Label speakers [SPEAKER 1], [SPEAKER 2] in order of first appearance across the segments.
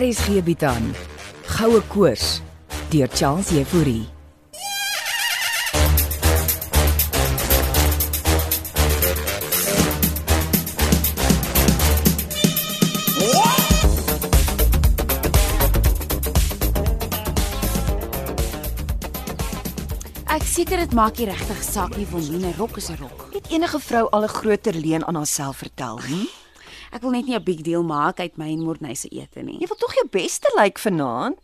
[SPEAKER 1] RSG bied aan Goue Koors deur Charles Euphorie.
[SPEAKER 2] Ek seker dit maak nie regtig saak nie want 'n rok is 'n rok.
[SPEAKER 3] Het enige vrou al 'n groter leuen aan haarself vertel nie?
[SPEAKER 2] Ek wil net nie 'n big deal maak uit my en Morney se ete nie.
[SPEAKER 3] Jy wil tog jou bes te lyk like vanaand?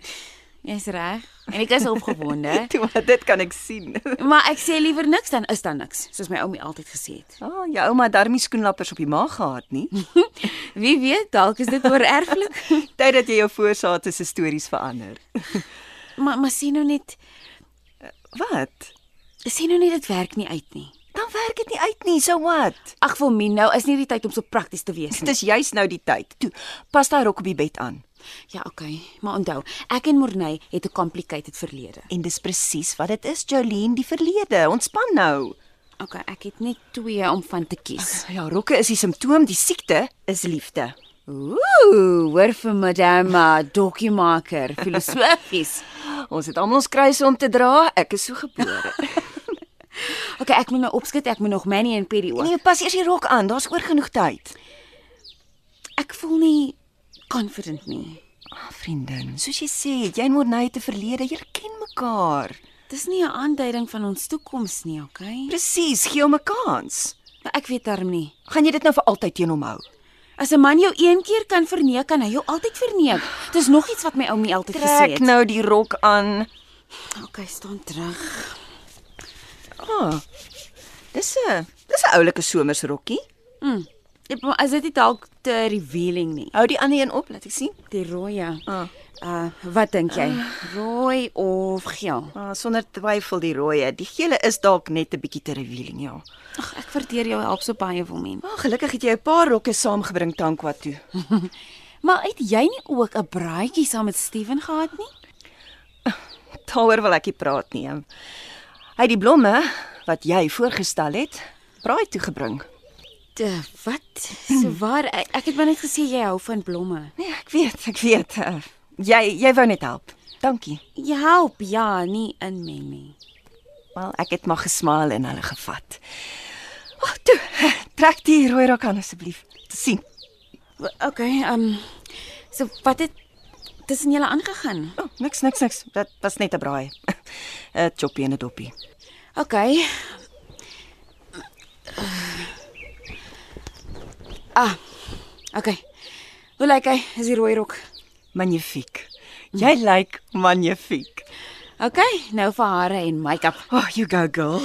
[SPEAKER 2] Jy's reg. En ek is opgewonde,
[SPEAKER 3] Toe maar dit kan ek sien.
[SPEAKER 2] maar ek sê liewer niks dan is daar niks, soos my oumie altyd gesê het.
[SPEAKER 3] Ah, jou ouma het darmie skoenlappers op die maag gehad nie.
[SPEAKER 2] Wie weet, dalk is dit oor erflik.
[SPEAKER 3] Tyd dat jy jou voorsate se stories verander.
[SPEAKER 2] maar maar sien nou net,
[SPEAKER 3] Wat?
[SPEAKER 2] sien nou net dit werk nie uit nie.
[SPEAKER 3] Dan werk dit nie uit nie, so wat?
[SPEAKER 2] Ag, Wilmien, nou is nie die tyd om so prakties te wees nie.
[SPEAKER 3] Dis juis nou die tyd. Toe, pas daai rok op die bed aan.
[SPEAKER 2] Ja, okay. Maar onthou, ek en Morney het 'n complicated verlede.
[SPEAKER 3] En dis presies wat dit is, Jolene, die verlede. Ontspan nou.
[SPEAKER 2] Okay, ek het net twee om van te kies.
[SPEAKER 3] Ja, rokke is die simptoom, die siekte is liefde.
[SPEAKER 2] Ooh, hoor vir madame uh, dokiemaker, filosofies.
[SPEAKER 3] Ons het almal ons kruise om te dra. Ek is so gebore.
[SPEAKER 2] Okay, ek moet nou opskit, ek moet nog Manny en Perry ook.
[SPEAKER 3] Nee, pas eers die rok aan. Daar's oor genoeg tyd.
[SPEAKER 2] Ek voel nie confident nie.
[SPEAKER 3] Ah, vriendin, soos jy sê, het jy en Morney te verlede, julle ken mekaar.
[SPEAKER 2] Dis nie 'n aanduiding van ons toekoms nie, okay?
[SPEAKER 3] Presies, gee hom 'n kans.
[SPEAKER 2] Nou ek weet darm nie.
[SPEAKER 3] Gaan jy dit nou vir altyd teen hom hou?
[SPEAKER 2] As 'n man jou een keer kan verneek, kan hy jou altyd verneek. Dis nog iets wat my oumie altyd gesê
[SPEAKER 3] Trek
[SPEAKER 2] het.
[SPEAKER 3] nou die rok aan.
[SPEAKER 2] Okay, staan terug.
[SPEAKER 3] Ah. Dis 'n dis 'n oulike somersrokkie.
[SPEAKER 2] Ek maar as dit nie dalk te revealing nie.
[SPEAKER 3] Hou die ander een op, laat ek sien.
[SPEAKER 2] Die rooi.
[SPEAKER 3] Ah,
[SPEAKER 2] Uh, wat dink jy? Rooi of geel?
[SPEAKER 3] ah sonder twyfel die rooie. Die gele is dalk net 'n bietjie te revealing, ja.
[SPEAKER 2] Ag, ek waardeer jou help so baie vir my.
[SPEAKER 3] Maar gelukkig het jy 'n paar rokke saamgebring Tankwa toe.
[SPEAKER 2] Maar het jy nie ook 'n braaitjie saam met Steven gehad nie?
[SPEAKER 3] Daaroor wil ek nie praat nie. ehm. Hy het die blomme wat jy voorgestel het, braai toe gebring.
[SPEAKER 2] De, wat? So waar ek, ek het maar net gesê jy hou van blomme.
[SPEAKER 3] Nee, ek weet, ek weet. eh, Jy jy wou net help. Dankie.
[SPEAKER 2] Jy help ja, nie in my nie.
[SPEAKER 3] Wel, ek het maar gesmaal en hulle gevat. Wag, oh, toe. Trek die rooi rok aan asseblief. Te sien.
[SPEAKER 2] W- Okay, ehm um, so wat het tussen julle aangegaan?
[SPEAKER 3] O, oh, niks, niks, niks. Dit was net 'n braai. 'n Choppie en 'n doppie.
[SPEAKER 2] Okay. Ah. Okay. Hoe lyk hy? Is die rooi rok?
[SPEAKER 3] Magnifiek. Jy lyk like magnifiek.
[SPEAKER 2] Okay, nou vir hare en make-up.
[SPEAKER 3] Oh, you go girl.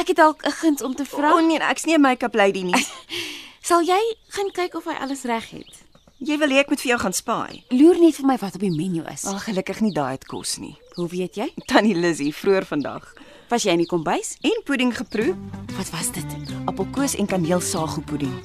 [SPEAKER 2] Ek het dalk 'n guns om te
[SPEAKER 3] O
[SPEAKER 2] vra.
[SPEAKER 3] oh, nee, ek's nie 'n make-up lady nie.
[SPEAKER 2] Sal jy gaan kyk of hy alles reg het?
[SPEAKER 3] Jy wil hê ek moet vir jou gaan spaai.
[SPEAKER 2] Loer net vir my wat op die menu is.
[SPEAKER 3] Wel, gelukkig nie daai het kos nie.
[SPEAKER 2] Hoe weet jy?
[SPEAKER 3] Tannie Lizzy vroeër vandag
[SPEAKER 2] Was jy in die kombuis?
[SPEAKER 3] en pudding geproe,
[SPEAKER 2] Wat was dit?
[SPEAKER 3] appelkoos en kaneelsaagopudding.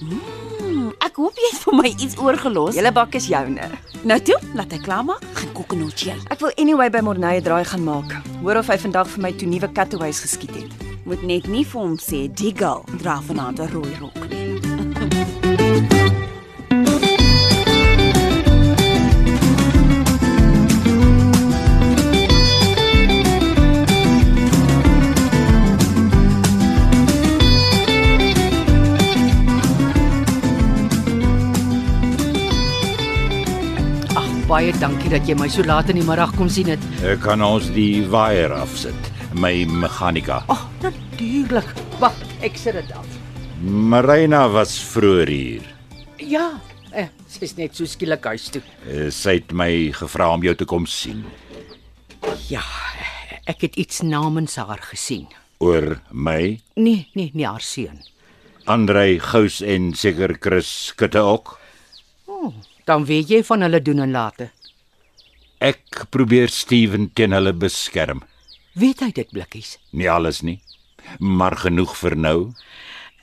[SPEAKER 2] Hmm, ek hoop jy het vir my iets oorgelos.
[SPEAKER 3] Julle bak is joune.
[SPEAKER 2] Nou toe, laat ek klaarmaak. Gaan kokkenot jy.
[SPEAKER 3] Ek wil anyway by Morney 'n draai gaan maak. Hoor of hy vandag vir my toe nuwe cutaways geskiet het.
[SPEAKER 2] Moet net nie vir hom sê die girl dra vanaand 'n rooi rok nie.
[SPEAKER 4] Ag, baie dankie dat jy my so laat in die middag kom sien het.
[SPEAKER 5] Ek Eh, kan ons die waier afsit, my meganika.
[SPEAKER 4] Ag, natuurlik. Wag, ek sit dit af.
[SPEAKER 5] Marina was vroeër hier.
[SPEAKER 4] Ja, eh, sy's net so skielik huis toe.
[SPEAKER 5] Eh, Sy het my gevra om jou te kom sien
[SPEAKER 4] Ja, ek het iets namens haar gesien.
[SPEAKER 5] oor my
[SPEAKER 4] Nee, nee, nie haar seun.
[SPEAKER 5] Andrei Gous en seker Chris Skutte ook.
[SPEAKER 4] Dan weet jy van hulle doen en late.
[SPEAKER 5] Ek probeer Steven teen hulle beskerm.
[SPEAKER 4] Weet hy dit blikkies?
[SPEAKER 5] Nie alles nie, maar genoeg vir nou.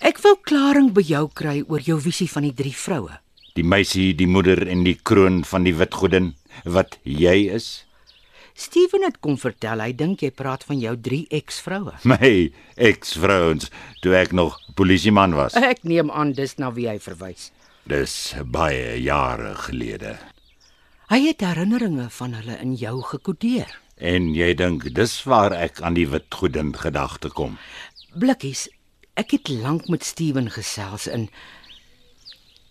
[SPEAKER 4] Ek wil klaring by jou kry oor jou visie van die drie vroue.
[SPEAKER 5] Die meisie, die moeder en die kroon van die wit godin wat jy is.
[SPEAKER 4] Steven het kom vertel hy dink jy praat van jou drie eksvroue.
[SPEAKER 5] My ex-vrouens toe ek nog polisieman was.
[SPEAKER 4] Ek neem aan dis na wie hy verwys.
[SPEAKER 5] Dis baie jare gelede.
[SPEAKER 4] Hy het herinneringe van hulle in jou gekodeer.
[SPEAKER 5] En jy dink dis waar ek aan die wit godin gedagte kom.
[SPEAKER 4] Blikkies, ek het lank met Steven gesels in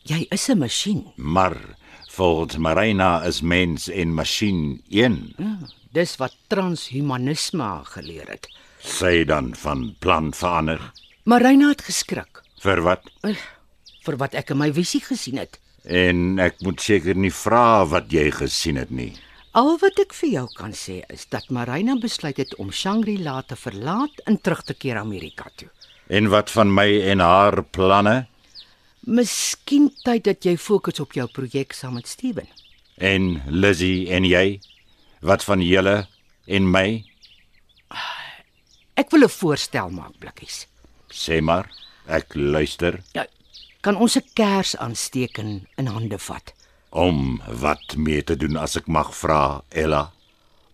[SPEAKER 4] jy is 'n masjien.
[SPEAKER 5] Maar volgens Marina is mens en masjien een.
[SPEAKER 4] Ja, Dis wat transhumanisme haar geleer het.
[SPEAKER 5] Sy dan van plan verander.
[SPEAKER 4] Marina het geskrik
[SPEAKER 5] Vir wat?
[SPEAKER 4] eh, vir wat ek in my visie gesien het.
[SPEAKER 5] En ek moet seker nie vra wat jy gesien het nie.
[SPEAKER 4] Al wat ek vir jou kan sê is dat Marina besluit het om Shangri-La te verlaat en terug te keer Amerika toe.
[SPEAKER 5] En wat van my en haar planne
[SPEAKER 4] Miskien tyd dat jy fokus op jou projek saam met Steven.
[SPEAKER 5] en Lizzy en jy? Wat van julle en my?
[SPEAKER 4] Ek wil 'n voorstel maak, Blikkies.
[SPEAKER 5] Sê maar, ek luister
[SPEAKER 4] Ja, kan ons 'n kers aansteek en in hande vat
[SPEAKER 5] om wat mee te doen as ek mag vra, Ella.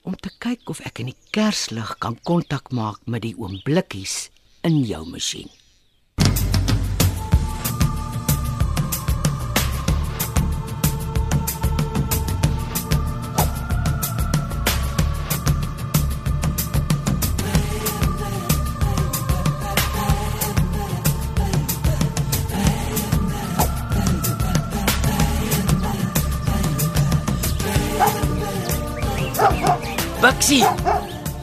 [SPEAKER 4] om te kyk of ek in die kerslig kan kontak maak met die oom Blikkies in jou masjien.
[SPEAKER 6] Bixie.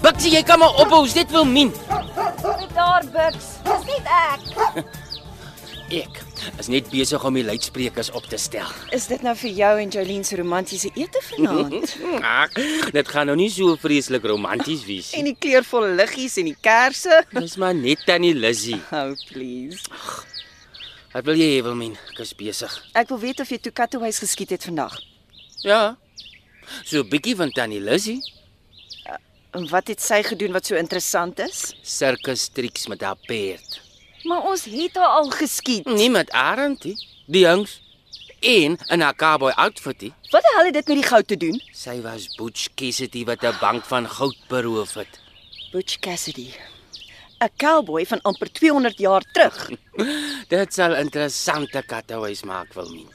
[SPEAKER 6] Bixie, jy kan maar ophou, as dit wil min.
[SPEAKER 7] Sit daar, Bux. Dis nie ek.
[SPEAKER 6] Ek is net besig om die luidsprekers op te stel.
[SPEAKER 3] Is dit nou vir jou en Jolene se romantiese ete vanaand?
[SPEAKER 6] Ag, dit gaan nou nie so vreeslik romanties wees
[SPEAKER 3] en
[SPEAKER 6] nie.
[SPEAKER 3] die kleurvolle liggies en die kersse?
[SPEAKER 6] Dis maar net tannie Lizzy.
[SPEAKER 3] Oh, please.
[SPEAKER 6] Wat wil jy hê wil min? Ek is besig.
[SPEAKER 3] Ek wil weet of jy Tukatoehuis geskiet het vandag.
[SPEAKER 6] Ja. So 'n bietjie van tannie Lizzy.
[SPEAKER 3] En wat het sy gedoen wat so interessant is?
[SPEAKER 6] Circus triks met haar perd.
[SPEAKER 7] Maar ons het haar al
[SPEAKER 3] Geskiet.
[SPEAKER 6] Nie met Arend nie. Die jongs en in haar cowboy outfitie.
[SPEAKER 3] Wat die hel het dit met die goud te doen?
[SPEAKER 6] Sy was Butch Cassidy wat 'n bank van goud beroof het.
[SPEAKER 3] Butch Cassidy. 'n Cowboy van amper 200 jaar terug.
[SPEAKER 6] Dit sal interessante kattehuis maak wil min.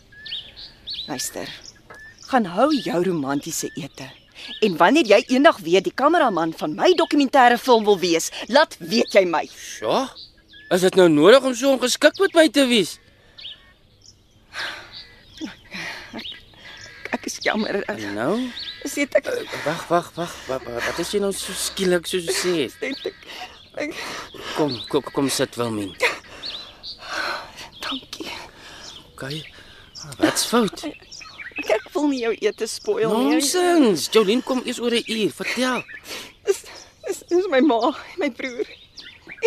[SPEAKER 3] Luister. Gaan hou jou romantiese ete. En wanneer jy eendag weer die kameraman van my dokumentêre film wil wees, laat weet jy my.
[SPEAKER 6] Ja? Is dit nou nodig om so ongeskik met my te wees?
[SPEAKER 3] Ek is jammer. Ek,
[SPEAKER 6] Nou,
[SPEAKER 3] is dit ek
[SPEAKER 6] wag, wag, wag. wa- wa- Wat is jy nou so skielik so sê?
[SPEAKER 3] net ek. ek
[SPEAKER 6] Kom, kom, kom sit Wilmien.
[SPEAKER 3] dankie.
[SPEAKER 6] Okay. Ah, Wat's fout?
[SPEAKER 3] Ek, ek wil nie jou ete spoil nie.
[SPEAKER 6] Nonsens. Jolien kom eers oor 'n uur. Vertel.
[SPEAKER 3] Dis dis dis my ma, en my broer.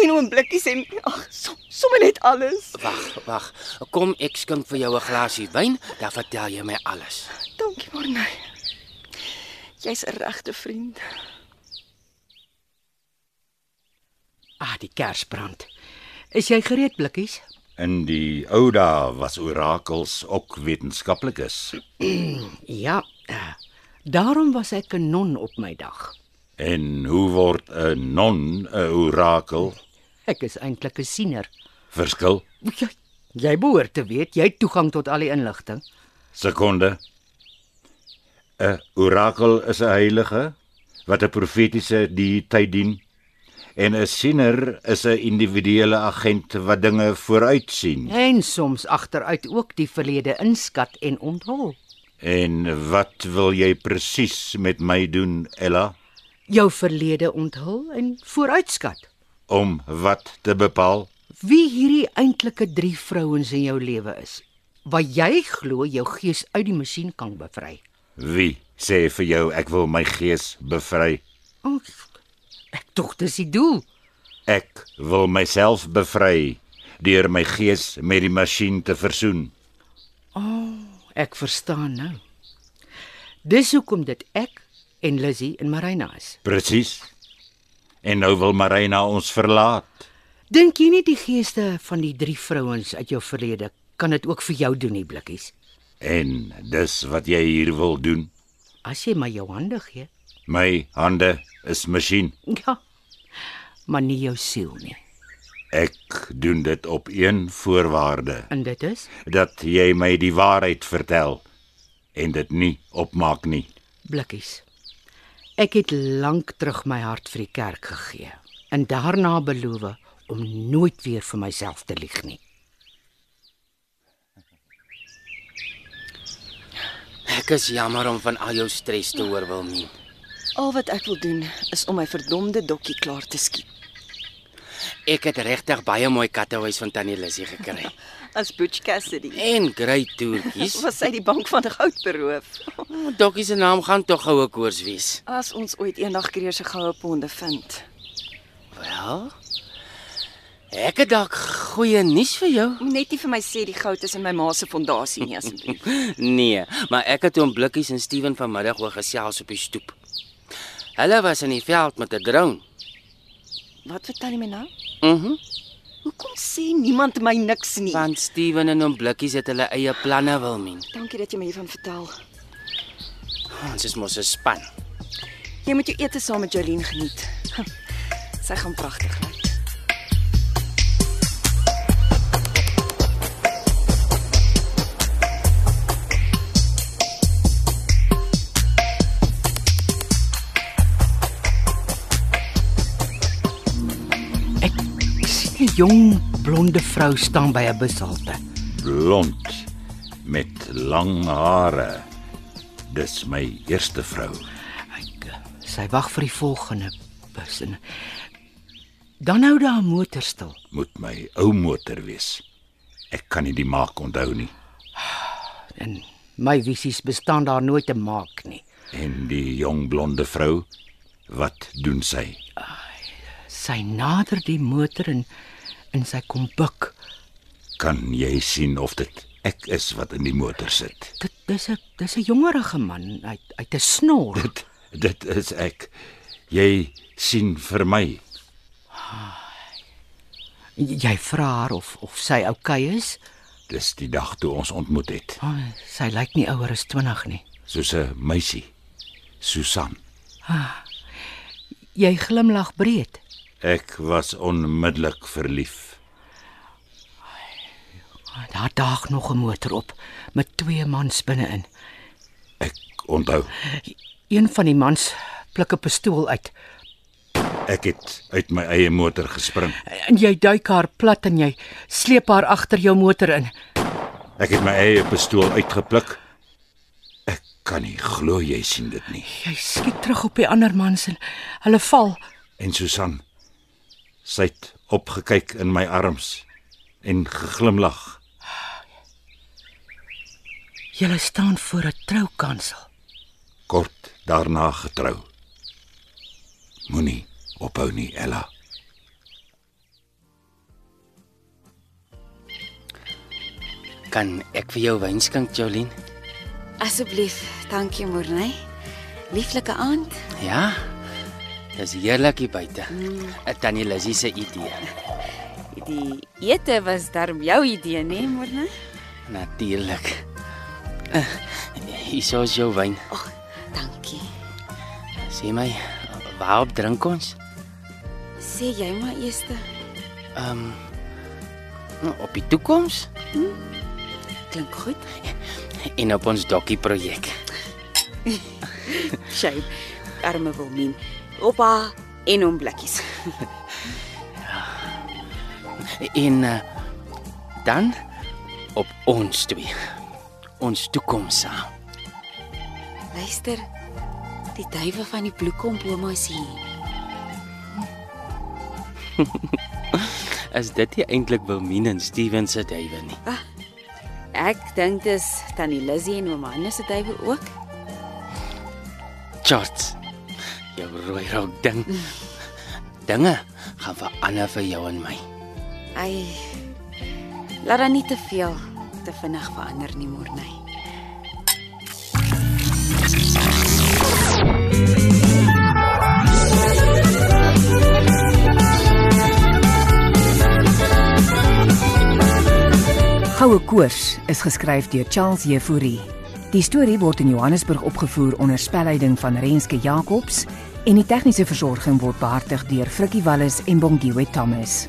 [SPEAKER 3] En oom Blikkies en ag, som, sommer net alles.
[SPEAKER 6] Wag, wag. Kom ek skink vir jou 'n glasie wyn, dan vertel jy my alles.
[SPEAKER 3] Dankie, Morney. Jy's 'n regte vriend.
[SPEAKER 4] Ah, die kers brand. Is jy gereed, Blikkies?
[SPEAKER 5] In die ou dae was orakels ook wetenskaplikes
[SPEAKER 4] Ja. eh, Daarom was ek 'n non op my dag.
[SPEAKER 5] en hoe word 'n non 'n orakel?
[SPEAKER 4] Ek is eintlik 'n siener.
[SPEAKER 5] Verskil
[SPEAKER 4] Jy, jy behoort te weet, jy het toegang tot al die inligting.
[SPEAKER 5] sekonde. 'n Orakel is 'n heilige wat 'n profetiese deity dien en 'n siener is 'n individuele agent wat dinge vooruitsien.
[SPEAKER 4] En soms agteruit ook die verlede inskat en onthul.
[SPEAKER 5] En wat wil jy presies met my doen, Ella,
[SPEAKER 4] Jou verlede onthul en vooruitskat.
[SPEAKER 5] om wat te bepaal?
[SPEAKER 4] Wie hierdie eintlike drie vrouens in jou lewe is wat jy glo jou gees uit die masjien kan bevry.
[SPEAKER 5] Wie sê vir jou ek wil my gees bevry?
[SPEAKER 4] O, Ek tog dis die doel.
[SPEAKER 5] Ek wil myself bevry deur my gees met die masjien te versoen.
[SPEAKER 4] Ek verstaan nou. Dis hoekom dit ek en Lizzy en Marina is.
[SPEAKER 5] Presies. En nou wil Marina ons verlaat.
[SPEAKER 4] Dink jy nie die geeste van die drie vrouens uit jou verlede kan dit ook vir jou doen nie blikkies?
[SPEAKER 5] En dis wat jy hier wil doen.
[SPEAKER 4] As jy my jou hande gee.
[SPEAKER 5] My hande is masjien.
[SPEAKER 4] Ja. Maar nie jou siel nie.
[SPEAKER 5] Ek doen dit op een voorwaarde,
[SPEAKER 4] En dit is
[SPEAKER 5] dat jy my die waarheid vertel en dit nie opmaak nie.
[SPEAKER 4] blikkies. Ek het lank terug my hart vir die kerk gegee en daarna beloof om nooit weer vir myself te lieg nie.
[SPEAKER 6] Ek is jammer om van al jou stres te hoor wil nie.
[SPEAKER 3] Al wat ek wil doen is om my verdomde dokkie klaar te skiet.
[SPEAKER 6] Ek het regtig baie mooi kattehuis van Tannie Lissy gekry.
[SPEAKER 3] As Butch Cassidy
[SPEAKER 6] En great toertjies.
[SPEAKER 3] was sy die bank van goud beroof.
[SPEAKER 6] Dokkie se naam gaan tog goue koers wees.
[SPEAKER 3] As ons ooit eendag kreer se goue ponde vind,
[SPEAKER 6] Wel. Ek het dalk goeie nuus vir jou.
[SPEAKER 3] moet net nie vir my sê die goud is in my ma se fondasie nie asseblief.
[SPEAKER 6] Nee, maar ek het hom blikkies en Steven vanmiddag oor gesels op die stoep. Hulle was in die veld met 'n drone.
[SPEAKER 3] Wat vertel jy my nou?
[SPEAKER 6] Mhm.
[SPEAKER 3] Hoekom sê niemand my niks nie?
[SPEAKER 6] Want Steven en hom blikkies het hulle eie planne wil men.
[SPEAKER 3] Dankie dat jy my hiervan vertel.
[SPEAKER 6] Ons is mos 'n span.
[SPEAKER 3] Jy moet jou ete saam met Jolene geniet. Sy gaan pragtig lyk.
[SPEAKER 4] Ek sien 'n jong blonde vrou staan by 'n bushalte.
[SPEAKER 5] Blond met lang hare. Dis my eerste vrou.
[SPEAKER 4] Ek eh, sy wag vir die volgende bus en dan hou daar 'n motor stil.
[SPEAKER 5] Moet my ou motor wees. Ek kan nie die maak onthou nie.
[SPEAKER 4] En my visies bestaan daar nooit te maak nie.
[SPEAKER 5] En die jong blonde vrou, wat doen sy?
[SPEAKER 4] Sy nader die motor en en sy kom buk.
[SPEAKER 5] Kan jy sien of dit ek is wat in die motor sit?
[SPEAKER 4] Dit dis 'n dis 'n jongerige man uit uit 'n snor.
[SPEAKER 5] Dit dit is ek. Jy sien vir my.
[SPEAKER 4] Jy vra haar of of sy oukei okay is.
[SPEAKER 5] Dis die dag toe ons ontmoet het.
[SPEAKER 4] Oh, sy lyk nie ouer as 20 nie.
[SPEAKER 5] Soos 'n meisie. Susan.
[SPEAKER 4] Jy glimlag breed.
[SPEAKER 5] Ek was onmiddellik verlief.
[SPEAKER 4] Daar daag nog 'n motor op met twee mans binne-in.
[SPEAKER 5] Ek onthou,
[SPEAKER 4] Een van die mans pluk 'n pistool uit
[SPEAKER 5] ek het uit my eie motor gespring.
[SPEAKER 4] en jy duik haar plat en jy sleep haar agter jou motor in.
[SPEAKER 5] Ek het my eie pistool uitgepluk. Ek kan nie glo jy sien dit nie.
[SPEAKER 4] Jy skiet terug op die ander mans en hulle val.
[SPEAKER 5] En Susan, sy het opgekyk in my arms en geglimlag.
[SPEAKER 4] Julle staan voor 'n troukansel.
[SPEAKER 5] Kort daarna getrou. Moenie ophou nie, Ella.
[SPEAKER 6] Kan ek vir jou wyn skink, Jolien?
[SPEAKER 2] Asseblief, dankie Morney. Lieflike aand.
[SPEAKER 6] Ja. Dis heerlik hier buite. Dit tannie Lissy se idee.
[SPEAKER 2] Die ete was darm jou idee, né, Morney?
[SPEAKER 6] Natuurlik. Eh, Hier is jou wyn.
[SPEAKER 2] Dankie.
[SPEAKER 6] Sê my, waarop drink ons?
[SPEAKER 2] Sê jy maar eers.
[SPEAKER 6] Ehm um, op die toekoms
[SPEAKER 2] Klink goed.
[SPEAKER 6] en op ons dokkie projek.
[SPEAKER 2] Sy arme Wilmien. Op haar en hom blikkies.
[SPEAKER 6] En uh, dan op ons twee. Ons toekoms saam.
[SPEAKER 2] Luister. Die duiwe van die bloekombome is hier.
[SPEAKER 6] Is dit nie eintlik Wilmien en Steven se duiwe nie?
[SPEAKER 2] Ek dink dis tannie Lizzie en oom Hannes se duiwe ook.
[SPEAKER 6] Charts. Jou rooi rok ding. Dinge gaan verander vir jou en my.
[SPEAKER 2] Ai. Laat dan nie te veel te vinnig verander nie, Morney.
[SPEAKER 1] Goue koers is geskryf deur Charles Jefouri. Die storie word in Johannesburg opgevoer onder spelleiding van Renske Jacobs en die tegniese versorging word behartig deur Frikkie Wallis en Bongwe Thomas.